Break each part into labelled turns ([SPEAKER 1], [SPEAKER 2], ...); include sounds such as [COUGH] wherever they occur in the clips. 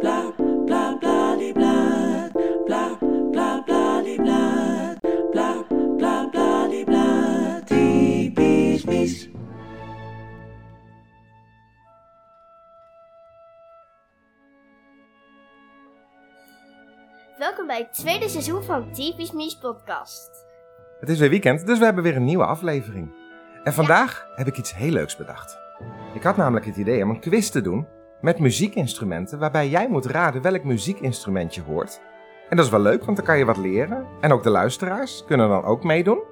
[SPEAKER 1] bla bla bla die bla bla bla bla die bla bla bla bla die bla typisch mis.
[SPEAKER 2] Welkom bij het tweede seizoen van Typisch Mies podcast.
[SPEAKER 3] Het is weer weekend, dus we hebben weer een nieuwe aflevering. En vandaag heb ik iets heel leuks bedacht. Ik had namelijk het idee om een quiz te doen met muziekinstrumenten waarbij jij moet raden welk muziekinstrument je hoort. En dat is wel leuk, want dan kan je wat leren. En ook de luisteraars kunnen dan ook meedoen.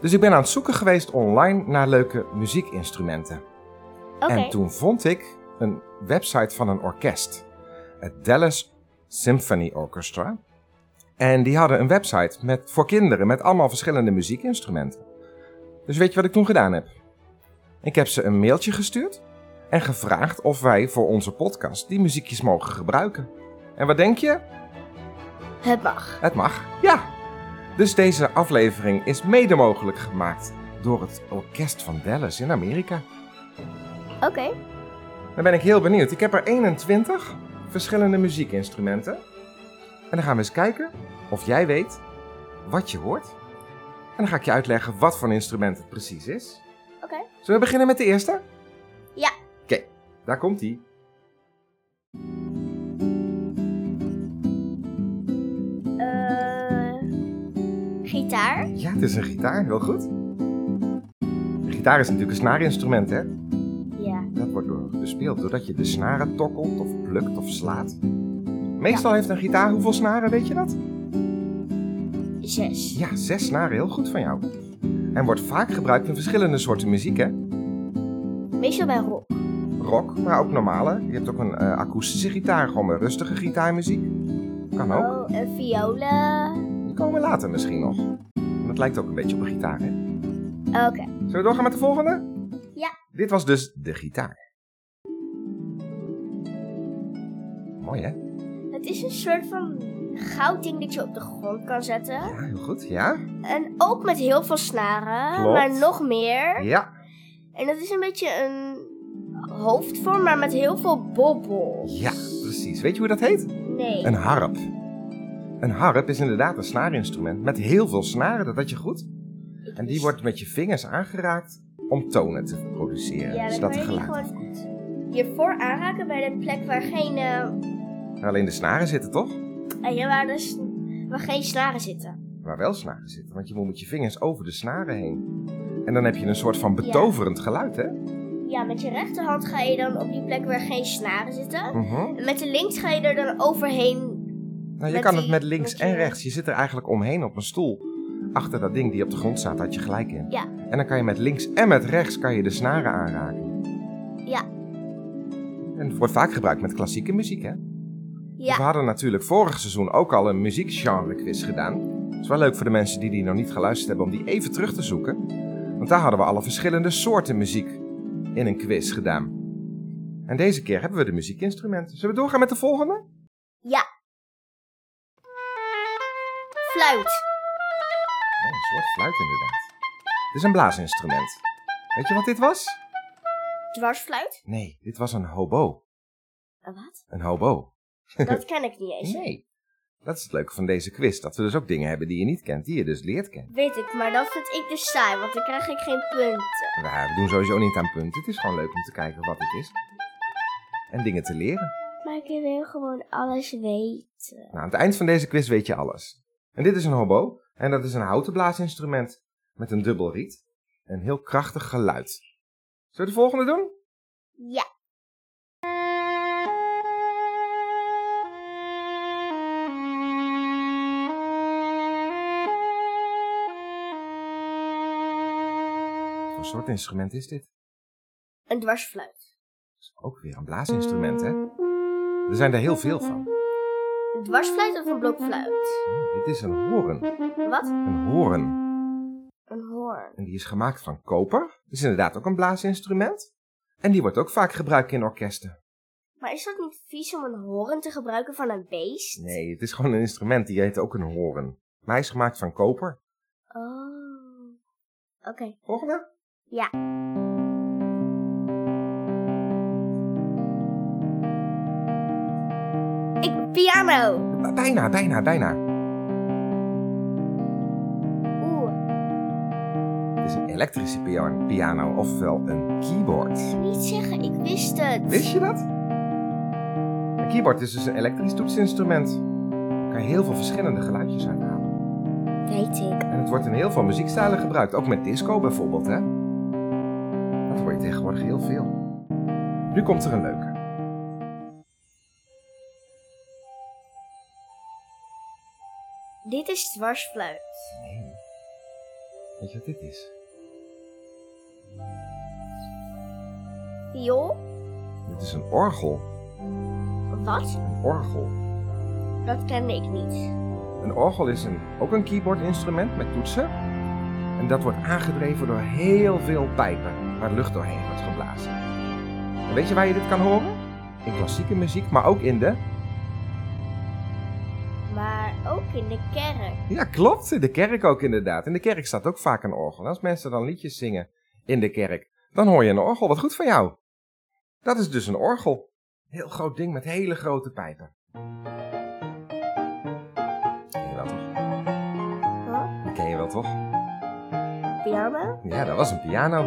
[SPEAKER 3] Dus ik ben aan het zoeken geweest online naar leuke muziekinstrumenten.
[SPEAKER 2] Oké,
[SPEAKER 3] En toen vond ik een website van een orkest. Het Dallas Symphony Orchestra. En die hadden een website met, voor kinderen met allemaal verschillende muziekinstrumenten. Dus weet je wat ik toen gedaan heb? Ik heb ze een mailtje gestuurd en gevraagd of wij voor onze podcast die muziekjes mogen gebruiken. En wat denk je?
[SPEAKER 2] het mag.
[SPEAKER 3] Het mag. Ja. Dus deze aflevering is mede mogelijk gemaakt door het Orkest van Dallas in Amerika.
[SPEAKER 2] Oké,
[SPEAKER 3] Dan ben ik heel benieuwd. Ik heb er 21 verschillende muziekinstrumenten. En dan gaan we eens kijken of jij weet wat je hoort. En dan ga ik je uitleggen wat voor een instrument het precies is.
[SPEAKER 2] oké.
[SPEAKER 3] Zullen we beginnen met de eerste?
[SPEAKER 2] Ja.
[SPEAKER 3] Oké, daar komt ie.
[SPEAKER 2] Eh, gitaar.
[SPEAKER 3] Ja, het is een gitaar. Heel goed. De gitaar is natuurlijk een snaarinstrument, hè?
[SPEAKER 2] Ja.
[SPEAKER 3] Dat wordt door- bespeeld doordat je de snaren tokkelt of plukt of slaat. Meestal heeft een gitaar hoeveel snaren, weet je dat?
[SPEAKER 2] Zes.
[SPEAKER 3] Ja, zes snaren, heel goed van jou. En wordt vaak gebruikt in verschillende soorten muziek, hè?
[SPEAKER 2] Meestal bij rock.
[SPEAKER 3] Rock, maar ook normale. Je hebt ook een eh, akoestische gitaar, gewoon een rustige gitaarmuziek. Kan ook.
[SPEAKER 2] Oh, eh, violen.
[SPEAKER 3] Die komen later misschien nog. Want het lijkt ook een beetje op een gitaar, hè?
[SPEAKER 2] Oh, Oké.
[SPEAKER 3] Zullen we doorgaan met de volgende?
[SPEAKER 2] Ja.
[SPEAKER 3] Dit was dus de gitaar. Mooi, hè?
[SPEAKER 2] Het is een soort van goud ding dat je op de grond kan zetten.
[SPEAKER 3] Ja, heel goed. Ja?
[SPEAKER 2] En ook met heel veel snaren,
[SPEAKER 3] Klopt.
[SPEAKER 2] maar nog meer.
[SPEAKER 3] Ja.
[SPEAKER 2] En dat is een beetje een hoofdvorm, maar met heel veel bobbels.
[SPEAKER 3] Ja, precies. Weet je hoe dat heet?
[SPEAKER 2] Nee.
[SPEAKER 3] Een harp. Een harp is inderdaad een snaarinstrument met heel veel snaren, dat had je goed.
[SPEAKER 2] Ik
[SPEAKER 3] En die
[SPEAKER 2] wist-
[SPEAKER 3] wordt met je vingers aangeraakt om tonen te produceren.
[SPEAKER 2] Ja, dan
[SPEAKER 3] zodat
[SPEAKER 2] kan
[SPEAKER 3] er
[SPEAKER 2] je die
[SPEAKER 3] geluid
[SPEAKER 2] gewoon-
[SPEAKER 3] afkomt.
[SPEAKER 2] je voor aanraken bij de plek waar geen, eh
[SPEAKER 3] En Nou, alleen de snaren zitten toch?
[SPEAKER 2] eh, waar, de s- waar geen snaren zitten.
[SPEAKER 3] Waar wel snaren zitten, want je moet met je vingers over de snaren heen. En dan heb je een soort van betoverend geluid, hè?
[SPEAKER 2] Ja, met je rechterhand ga je dan op die plek waar geen snaren zitten.
[SPEAKER 3] Mhm.
[SPEAKER 2] En met de links ga je er dan overheen.
[SPEAKER 3] Nou, je
[SPEAKER 2] Met
[SPEAKER 3] kan
[SPEAKER 2] die-
[SPEAKER 3] het met links
[SPEAKER 2] met je-
[SPEAKER 3] en rechts. Je zit er eigenlijk omheen op een stoel. Achter dat ding die op de grond staat, had je gelijk in.
[SPEAKER 2] Ja.
[SPEAKER 3] En dan kan je met links en met rechts kan je de snaren aanraken.
[SPEAKER 2] Ja.
[SPEAKER 3] En het wordt vaak gebruikt met klassieke muziek, hè? We
[SPEAKER 2] Ja,
[SPEAKER 3] hadden natuurlijk vorig seizoen ook al een muziekgenre quiz gedaan. Het is wel leuk voor de mensen die die nog niet geluisterd hebben om die even terug te zoeken. Want daar hadden we alle verschillende soorten muziek in een quiz gedaan. En deze keer hebben we de muziekinstrumenten. Zullen we doorgaan met de volgende?
[SPEAKER 2] fluit.
[SPEAKER 3] Ja, een soort fluit inderdaad. Het is een blaasinstrument. Weet je wat dit was?
[SPEAKER 2] Dwarsfluit?
[SPEAKER 3] Nee, dit was een hobo.
[SPEAKER 2] Eh,
[SPEAKER 3] [LAUGHS]
[SPEAKER 2] Wat?
[SPEAKER 3] Een hobo.
[SPEAKER 2] Dat ken ik niet eens.
[SPEAKER 3] Nee. Dat is het leuke van deze quiz, dat we dus ook dingen hebben die je niet kent, die je dus leert kennen.
[SPEAKER 2] Weet ik, maar dat vind ik dus saai, want dan krijg ik geen punten.
[SPEAKER 3] Nou, we doen sowieso niet aan punten. Het is gewoon leuk om te kijken wat het is. En dingen te leren.
[SPEAKER 2] Maar ik wil gewoon alles weten.
[SPEAKER 3] Nou, aan het eind van deze quiz weet je alles. En dit is een hobo. En dat is een houten blaasinstrument. Met een dubbel riet. Een heel krachtig geluid. Zullen we de volgende doen?
[SPEAKER 2] Ja.
[SPEAKER 3] Wat soort instrument is dit?
[SPEAKER 2] Een dwarsfluit.
[SPEAKER 3] is ook weer een blaasinstrument, hè? Er zijn er heel veel van.
[SPEAKER 2] Een dwarsfluit of een blokfluit?
[SPEAKER 3] Hm, Dit is een hoorn.
[SPEAKER 2] Wat?
[SPEAKER 3] Een hoorn.
[SPEAKER 2] Een hoorn.
[SPEAKER 3] En die is gemaakt van koper. Dat is inderdaad ook een blaasinstrument. En die wordt ook vaak gebruikt in orkesten.
[SPEAKER 2] Maar is dat niet vies om een hoorn te gebruiken van een beest?
[SPEAKER 3] Nee, het is gewoon een instrument. Die heet ook een horen. Maar hij is gemaakt van koper.
[SPEAKER 2] Oh. Oké.
[SPEAKER 3] Volgende?
[SPEAKER 2] Ja. Ik, piano.
[SPEAKER 3] B- Bijna, bijna, bijna.
[SPEAKER 2] Oeh,
[SPEAKER 3] Het is een elektrische pia- piano, ofwel een keyboard.
[SPEAKER 2] niet zeggen, ik wist het.
[SPEAKER 3] Wist je dat? Een keyboard is dus een elektrisch toetsinstrument. Daar kan je heel veel verschillende geluidjes uit halen.
[SPEAKER 2] Weet ik.
[SPEAKER 3] En het wordt in heel veel muziekstijlen gebruikt, ook met disco bijvoorbeeld, hè? Dat hoor je tegenwoordig heel veel. Nu komt er een leuke.
[SPEAKER 2] Dit is dwarsfluit.
[SPEAKER 3] Nee. Weet je wat dit is?
[SPEAKER 2] Viool?
[SPEAKER 3] Dit is een orgel.
[SPEAKER 2] Wat?
[SPEAKER 3] Een orgel.
[SPEAKER 2] Dat kende ik niet.
[SPEAKER 3] Een orgel is een, ook een keyboardinstrument met toetsen. En dat wordt aangedreven door heel veel pijpen waar lucht doorheen wordt geblazen. En weet je waar je dit kan horen? In klassieke muziek, maar ook in de...
[SPEAKER 2] Maar ook in de kerk.
[SPEAKER 3] Ja, klopt. In de kerk ook inderdaad. In de kerk staat ook vaak een orgel. Als mensen dan liedjes zingen in de kerk, dan hoor je een orgel. Wat goed van jou. Dat is dus een orgel. Heel groot ding met hele grote pijpen. Ken je wel toch?
[SPEAKER 2] Huh?
[SPEAKER 3] Die ken je wel toch?
[SPEAKER 2] Piano?
[SPEAKER 3] Ja, dat was een piano.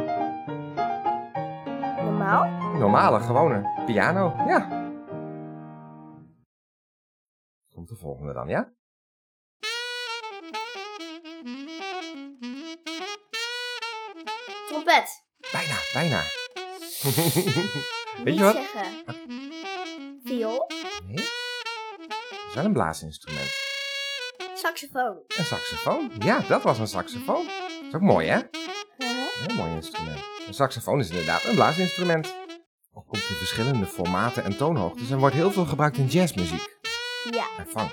[SPEAKER 2] Normaal?
[SPEAKER 3] Een normale, gewone piano. Ja. Komt de volgende dan, ja?
[SPEAKER 2] Trompet.
[SPEAKER 3] Bijna, bijna. Weet
[SPEAKER 2] niet
[SPEAKER 3] je wat?
[SPEAKER 2] zeggen. Viool?
[SPEAKER 3] Nee. Dat is wel een blaasinstrument.
[SPEAKER 2] Saxofoon.
[SPEAKER 3] Een saxofoon. Ja, dat was een saxofoon. Dat is ook mooi, hè?
[SPEAKER 2] Huh?
[SPEAKER 3] Een heel mooi instrument. Een saxofoon is inderdaad een blaasinstrument. Ook komt in verschillende formaten en toonhoogtes en wordt heel veel gebruikt in jazzmuziek
[SPEAKER 2] Ja.
[SPEAKER 3] en funk.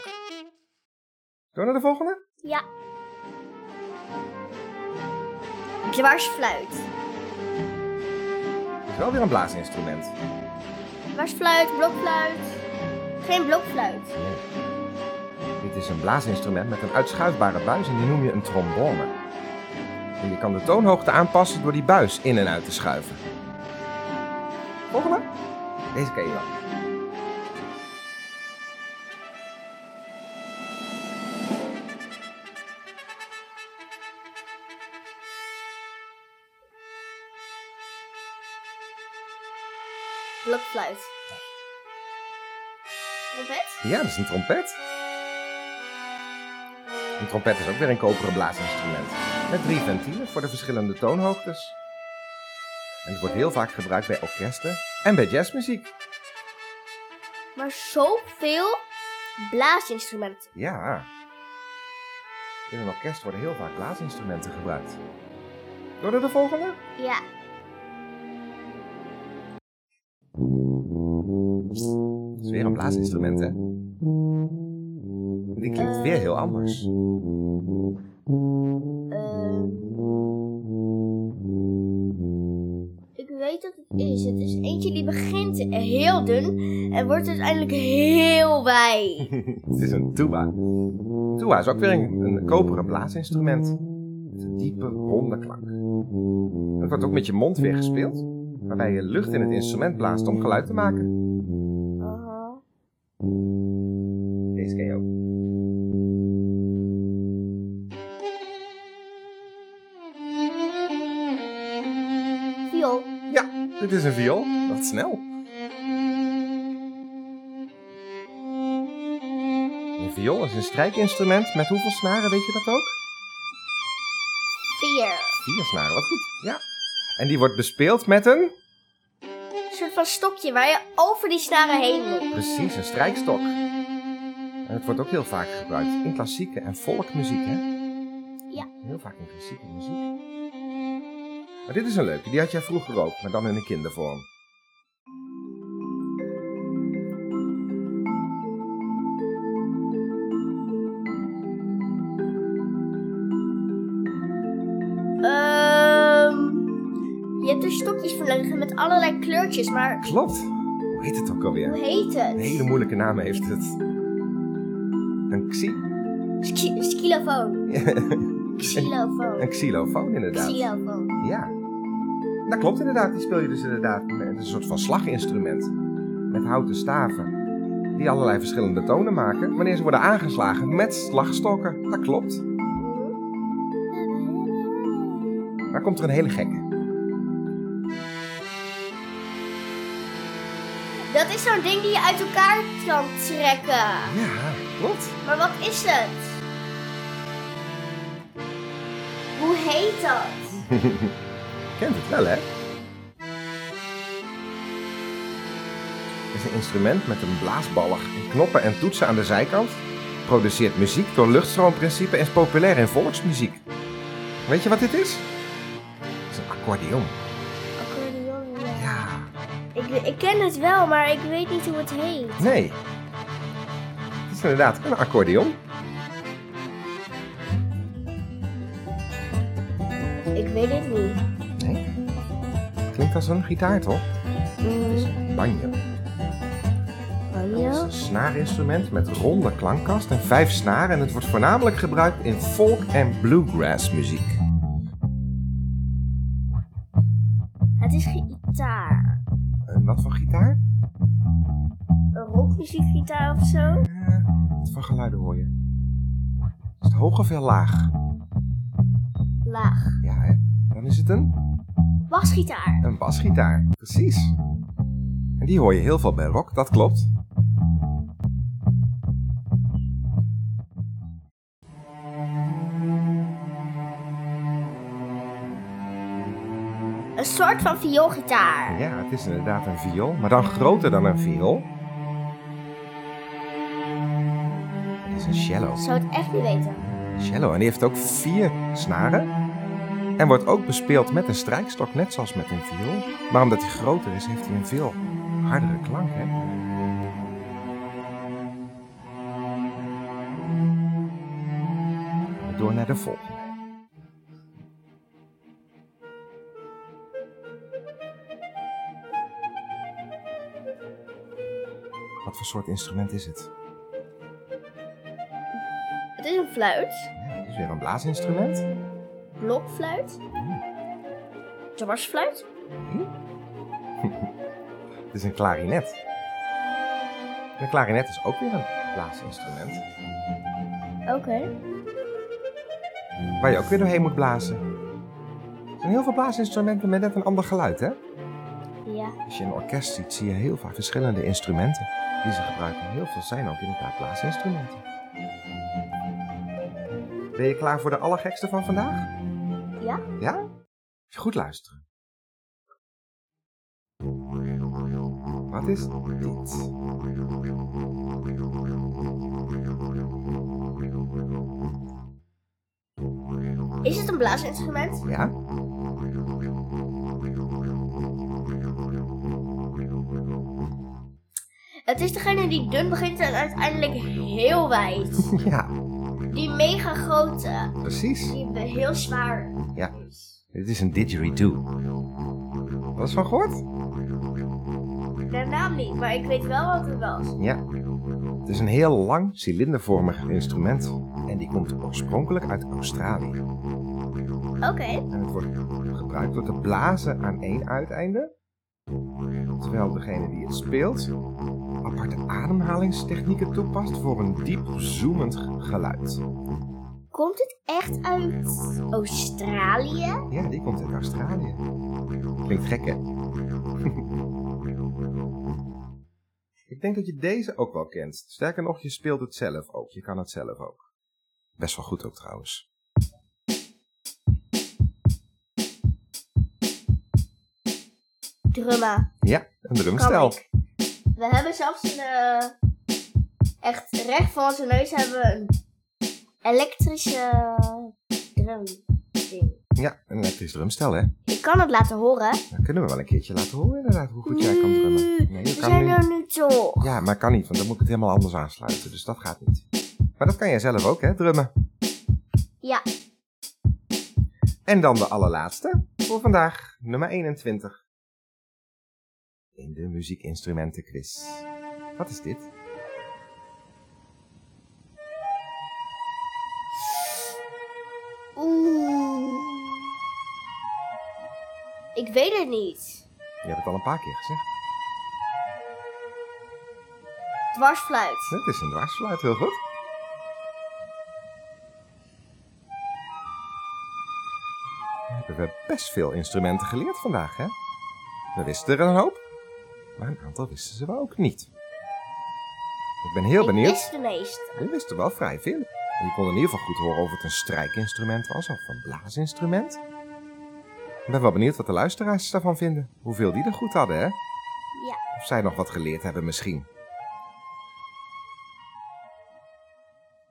[SPEAKER 3] Door naar de volgende?
[SPEAKER 2] Ja. Dwarsfluit.
[SPEAKER 3] Het is wel weer een blaasinstrument.
[SPEAKER 2] Dwarsfluit, blokfluit. Geen blokfluit.
[SPEAKER 3] Dit is een blaasinstrument met een uitschuifbare buis en die noem je een trombone. En je kan de toonhoogte aanpassen door die buis in en uit te schuiven. Volgende? Deze ken je wel.
[SPEAKER 2] Blokfluit. Trompet?
[SPEAKER 3] Ja, dat is een trompet. Een trompet is ook weer een koperen blaasinstrument. Met drie ventielen voor de verschillende toonhoogtes. En het wordt heel vaak gebruikt bij orkesten en bij jazzmuziek.
[SPEAKER 2] Maar zoveel blaasinstrumenten.
[SPEAKER 3] Ja. In een orkest worden heel vaak blaasinstrumenten gebruikt. Door naar de volgende?
[SPEAKER 2] Ja.
[SPEAKER 3] Het is weer een blaasinstrument, hè? Die klinkt weer heel anders.
[SPEAKER 2] ehm, Ik weet dat het is. Het is eentje die begint heel dun en wordt uiteindelijk heel wijd.
[SPEAKER 3] Het is een tuba. Een tuba is ook weer een, een koperen blaasinstrument. Met een diepe, ronde klank. Het wordt ook met je mond weer gespeeld, waarbij je lucht in het instrument blaast om geluid te maken.
[SPEAKER 2] Aha.
[SPEAKER 3] Deze ken je ook.
[SPEAKER 2] Viool.
[SPEAKER 3] Ja, dit is een viool. Wat snel. Een viool is een strijkinstrument met hoeveel snaren, weet je dat ook?
[SPEAKER 2] Vier.
[SPEAKER 3] Vier snaren, wat goed. Ja. En die wordt bespeeld met een...
[SPEAKER 2] Een soort van stokje waar je over die snaren heen moet.
[SPEAKER 3] Precies, een strijkstok. En het wordt ook heel vaak gebruikt in klassieke en volkmuziek, hè?
[SPEAKER 2] Ja.
[SPEAKER 3] Heel vaak in klassieke muziek. Maar dit is een leuke, die had jij vroeger ook, maar dan in een kindervorm.
[SPEAKER 2] Ehm, je hebt er stokjes voor liggen met allerlei kleurtjes, maar
[SPEAKER 3] Klopt. Hoe heet het ook
[SPEAKER 2] hoe
[SPEAKER 3] alweer?
[SPEAKER 2] heet het?
[SPEAKER 3] Een hele moeilijke naam heeft het. Een, xi
[SPEAKER 2] Ski- Xylofoon.
[SPEAKER 3] [LAUGHS]
[SPEAKER 2] Xylofoon.
[SPEAKER 3] een xylofoon, inderdaad.
[SPEAKER 2] Xylofoon.
[SPEAKER 3] Ja. Dat klopt inderdaad. Die speel je dus inderdaad met een soort van slaginstrument. Met houten staven. die allerlei verschillende tonen maken wanneer ze worden aangeslagen met slagstokken. Dat klopt. Maar komt er een hele gekke.
[SPEAKER 2] Dat is zo'n ding die je uit elkaar kan trekken.
[SPEAKER 3] Ja, klopt.
[SPEAKER 2] Maar wat is het? Hoe heet dat?
[SPEAKER 3] Kent het wel, hè? Het is een instrument met een blaasballig en knoppen en toetsen aan de zijkant. Produceert muziek door luchtstroomprincipe en is populair in volksmuziek. Weet je wat dit is? Het is een accordeon.
[SPEAKER 2] Accordeon.
[SPEAKER 3] Ja.
[SPEAKER 2] Ik, ik ken het wel, maar ik weet niet hoe het heet.
[SPEAKER 3] Nee. Het is inderdaad een accordeon.
[SPEAKER 2] Ik weet het niet.
[SPEAKER 3] Nee. Klinkt als een gitaar, toch? Het is een banjo. Het is
[SPEAKER 2] Banjo?
[SPEAKER 3] een snaarinstrument met ronde klankkast en vijf snaren. En het wordt voornamelijk gebruikt in folk- en bluegrass muziek.
[SPEAKER 2] Het is gitaar.
[SPEAKER 3] Een wat voor gitaar?
[SPEAKER 2] Een rockmuziekgitaar of zo?
[SPEAKER 3] Wat voor geluiden hoor je? Is het hoog of heel laag?
[SPEAKER 2] Laag.
[SPEAKER 3] Ja, hè? Dan is het een,
[SPEAKER 2] Basgitaar.
[SPEAKER 3] een basgitaar. Precies. En die hoor je heel veel bij rock, dat klopt.
[SPEAKER 2] Een soort van vioolgitaar.
[SPEAKER 3] Ja, het is inderdaad een viool, maar dan groter dan een viool. Het is een cello.
[SPEAKER 2] Ik zou het echt niet weten.
[SPEAKER 3] Cello, en die heeft ook vier snaren. En wordt ook bespeeld met een strijkstok, net zoals met een viool. Maar omdat hij groter is, heeft hij een veel hardere klank, hè? Door naar de volgende. Wat voor soort instrument is het?
[SPEAKER 2] Het is een fluit.
[SPEAKER 3] Ja, het is weer een blaasinstrument.
[SPEAKER 2] Blokfluit. Dwarsfluit.
[SPEAKER 3] Het is een klarinet. En een klarinet is ook weer een blaasinstrument.
[SPEAKER 2] Oké.
[SPEAKER 3] Waar je ook weer doorheen moet blazen. Er zijn heel veel blaasinstrumenten met net een ander geluid, hè?
[SPEAKER 2] Ja.
[SPEAKER 3] Als je een orkest ziet, zie je heel vaak verschillende instrumenten die ze gebruiken. Heel veel zijn ook inderdaad blaasinstrumenten. Ben je klaar voor de allergekste van vandaag?
[SPEAKER 2] Ja?
[SPEAKER 3] Ja? Goed luisteren. Wat is dit?
[SPEAKER 2] Is het een blaasinstrument?
[SPEAKER 3] Ja?
[SPEAKER 2] Het is degene die dun begint en uiteindelijk heel wijd.
[SPEAKER 3] [LAUGHS] Ja,
[SPEAKER 2] Die mega grote.
[SPEAKER 3] precies.
[SPEAKER 2] Die heel zwaar
[SPEAKER 3] Ja.
[SPEAKER 2] is.
[SPEAKER 3] Dit is een didgeridoo. Dat is van gehoord?
[SPEAKER 2] De naam niet, maar ik weet wel wat het was.
[SPEAKER 3] Ja. Het is een heel lang, cilindervormig instrument. En die komt oorspronkelijk uit Australië.
[SPEAKER 2] Oké.
[SPEAKER 3] En het wordt gebruikt door te blazen aan één uiteinde. Terwijl degene die het speelt aparte ademhalingstechnieken toepast voor een diep zoemend geluid.
[SPEAKER 2] Komt het echt uit Australië?
[SPEAKER 3] Ja, die komt uit Australië. Klinkt gek, hè? [LAUGHS] Ik denk dat je deze ook wel kent. Sterker nog, je speelt het zelf ook. Je kan het zelf ook. Best wel goed ook trouwens.
[SPEAKER 2] Drummen.
[SPEAKER 3] Ja, een
[SPEAKER 2] Kan
[SPEAKER 3] drumstel.
[SPEAKER 2] ik. We hebben zelfs een. eh, echt recht voor onze neus hebben we een elektrische drum. Ding.
[SPEAKER 3] Ja, een elektrisch drumstel, hè?
[SPEAKER 2] Ik kan het laten horen.
[SPEAKER 3] Dat kunnen we wel een keertje laten horen inderdaad, hoe goed jij kan drummen.
[SPEAKER 2] Nee,
[SPEAKER 3] dat
[SPEAKER 2] we zijn
[SPEAKER 3] niet.
[SPEAKER 2] er nu toch.
[SPEAKER 3] Ja, maar kan niet, want dan moet ik het helemaal anders aansluiten. Dus dat gaat niet. Maar dat kan jij zelf ook, hè, drummen.
[SPEAKER 2] Ja,
[SPEAKER 3] En dan de allerlaatste voor vandaag, nummer 21. In de muziekinstrumentenquiz. Wat is dit?
[SPEAKER 2] oeh. Ik weet het niet.
[SPEAKER 3] Je hebt het al een paar keer gezegd.
[SPEAKER 2] Het dwarsfluit.
[SPEAKER 3] Het is een dwarsfluit, heel goed. Dan hebben we best veel instrumenten geleerd vandaag, hè? We wisten er een hoop, maar een aantal wisten ze wel ook niet. Ik ben heel
[SPEAKER 2] Ik
[SPEAKER 3] benieuwd.
[SPEAKER 2] wist de meeste.
[SPEAKER 3] We wisten wel vrij veel. En je kon in ieder geval goed horen of het een strijkinstrument was of een blaasinstrument. Ik ben wel benieuwd wat de luisteraars daarvan vinden. Hoeveel die er goed hadden, hè?
[SPEAKER 2] Ja.
[SPEAKER 3] Of zij nog wat geleerd hebben misschien.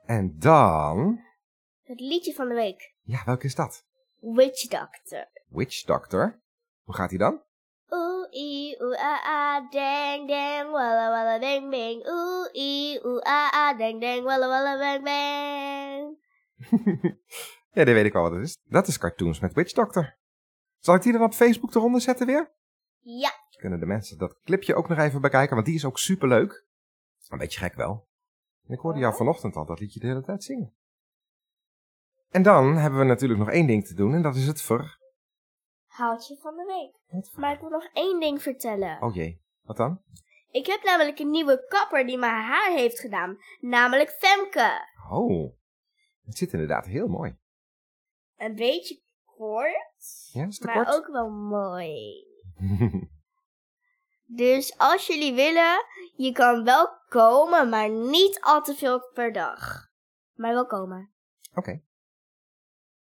[SPEAKER 3] En dan...
[SPEAKER 2] Het liedje van de week.
[SPEAKER 3] Ja, welke is dat?
[SPEAKER 2] Witch Doctor.
[SPEAKER 3] Witch Doctor. Hoe gaat die dan?
[SPEAKER 2] Oeh, ee, oeh, ah, ah, dang, dang, walla, walla, bang, bang. Oeh, ee, oeh, ah, ah, dang, dang, walla, walla, bang, bang.
[SPEAKER 3] Ja, die weet ik wel wat het is. Dat is Cartoons met Witch Doctor. Zal ik die dan op Facebook eronder zetten weer?
[SPEAKER 2] Ja,
[SPEAKER 3] kunnen de mensen dat clipje ook nog even bekijken, want die is ook superleuk. Een beetje gek wel. En Ik hoorde jou vanochtend al dat liedje de hele tijd zingen. En dan hebben we natuurlijk nog één ding te doen en dat is het ver...
[SPEAKER 2] haaltje van de week.
[SPEAKER 3] het ver-
[SPEAKER 2] Maar ik wil nog één ding vertellen.
[SPEAKER 3] Oh jee, wat dan?
[SPEAKER 2] Ik heb namelijk een nieuwe kapper die mijn haar heeft gedaan. Namelijk Femke.
[SPEAKER 3] Oh, het zit inderdaad heel mooi.
[SPEAKER 2] Een beetje kort,
[SPEAKER 3] Ja, is te
[SPEAKER 2] maar
[SPEAKER 3] kort.
[SPEAKER 2] ook wel mooi. Dus als jullie willen, je kan wel komen, maar niet al te veel per dag. Maar wel komen.
[SPEAKER 3] [LAUGHS]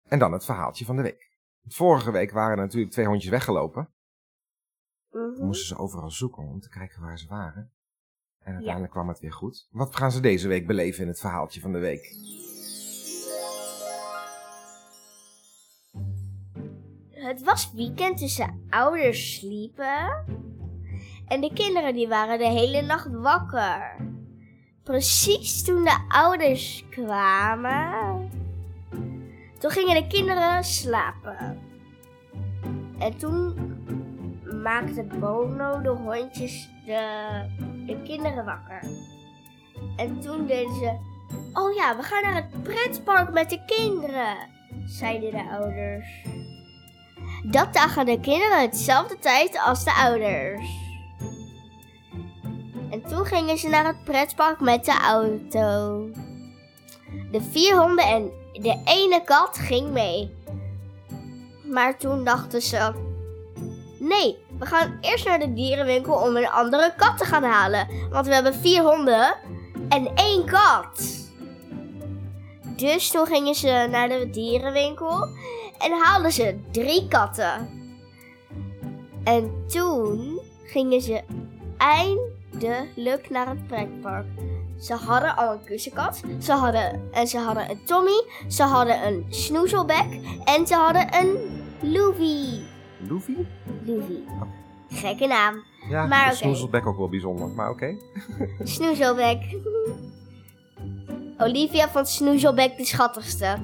[SPEAKER 3] en dan het verhaaltje van de week. Vorige week waren er natuurlijk twee hondjes weggelopen. We
[SPEAKER 2] Mhm.
[SPEAKER 3] moesten ze overal zoeken om te kijken waar ze waren. En uiteindelijk
[SPEAKER 2] uiteindelijk
[SPEAKER 3] kwam het weer goed. Wat gaan ze deze week beleven in het verhaaltje van de week?
[SPEAKER 2] Het was weekend, dus de ouders sliepen. En de kinderen die waren de hele nacht wakker. Precies toen de ouders kwamen, toen gingen de kinderen slapen. En toen maakte Bono de hondjes de, de kinderen wakker. En toen deden ze, oh ja, we gaan naar het pretpark met de kinderen, zeiden de ouders. Dat dagen de kinderen hetzelfde tijd als de ouders. En toen gingen ze naar het pretpark met de auto. De vier honden en de ene kat ging mee. Maar toen dachten ze: Nee, we gaan eerst naar de dierenwinkel om een andere kat te gaan halen. Want we hebben vier honden en één kat. Dus toen gingen ze naar de dierenwinkel en haalden ze drie katten. En toen gingen ze eindelijk naar het pretpark. Ze hadden al een kussenkat, ze hadden, en ze hadden een Tommy, ze hadden een snoezelbek en ze hadden een Louie.
[SPEAKER 3] Luffy?
[SPEAKER 2] Louie. Gekke naam.
[SPEAKER 3] Ja,
[SPEAKER 2] Maar
[SPEAKER 3] maar
[SPEAKER 2] oké.
[SPEAKER 3] snoezelbek ook wel bijzonder, maar oké.
[SPEAKER 2] Snoezelbek. Olivia vond Snoezelbek de schattigste.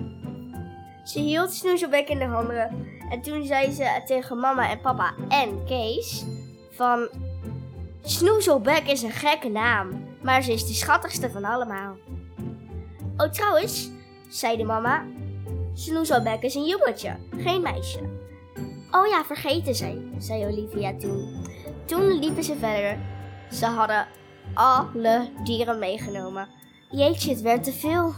[SPEAKER 2] Ze hield Snoezelbek in de handen. En toen zei ze tegen mama en papa en Kees van... Snoezelbek is een gekke naam, maar ze is de schattigste van allemaal. Oh, trouwens, zei de mama. Snoezelbek is een jubeltje, geen meisje. Oh ja, vergeten zij, zei Olivia toen. Toen liepen ze verder. Ze hadden alle dieren meegenomen. Jeetje, het werd te veel.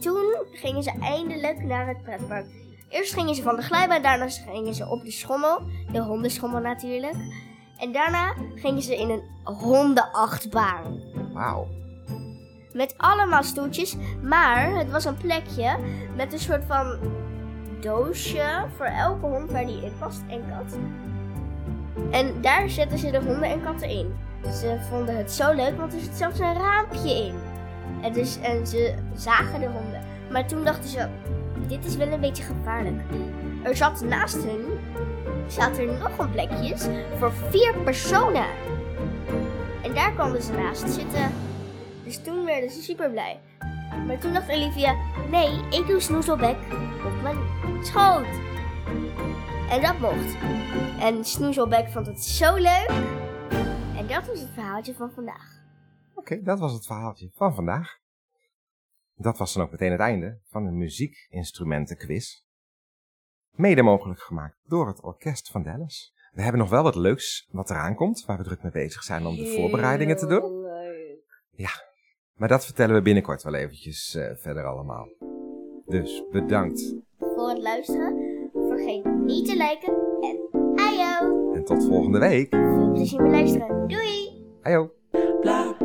[SPEAKER 2] Toen gingen ze eindelijk naar het pretpark. Eerst gingen ze van de glijbaan, daarna gingen ze op de schommel, de hondenschommel natuurlijk. En daarna gingen ze in een hondenachtbaan.
[SPEAKER 3] Wauw.
[SPEAKER 2] Met allemaal stoeltjes, maar het was een plekje met een soort van doosje voor elke hond waar die in past en kat. En daar zetten ze de honden en katten in. Ze vonden het zo leuk, want er zit zelfs een raampje in. En, dus, en ze zagen de honden. Maar toen dachten ze, dit is wel een beetje gevaarlijk. Er zat naast hun, zat er nog een plekjes voor vier personen. En daar kwamen ze naast zitten. Dus toen werden ze super blij. Maar toen dacht Olivia: nee, ik doe Snoezelbek op mijn schoot. En dat mocht. En Snoezelbek vond het zo leuk. En dat was het verhaaltje van vandaag.
[SPEAKER 3] Oké, dat was het verhaaltje van vandaag. Dat was dan ook meteen het einde van de muziekinstrumentenquiz. Mede mogelijk gemaakt door het Orkest van Dallas. We hebben nog wel wat leuks wat eraan komt, waar we druk mee bezig zijn om de voorbereidingen te doen. Maar dat vertellen we binnenkort wel eventjes eh, verder allemaal. Dus bedankt
[SPEAKER 2] voor het luisteren. Vergeet niet te liken en ajo!
[SPEAKER 3] en tot volgende week.
[SPEAKER 2] Veel plezier met luisteren. Doei!
[SPEAKER 3] Ajo.
[SPEAKER 1] blah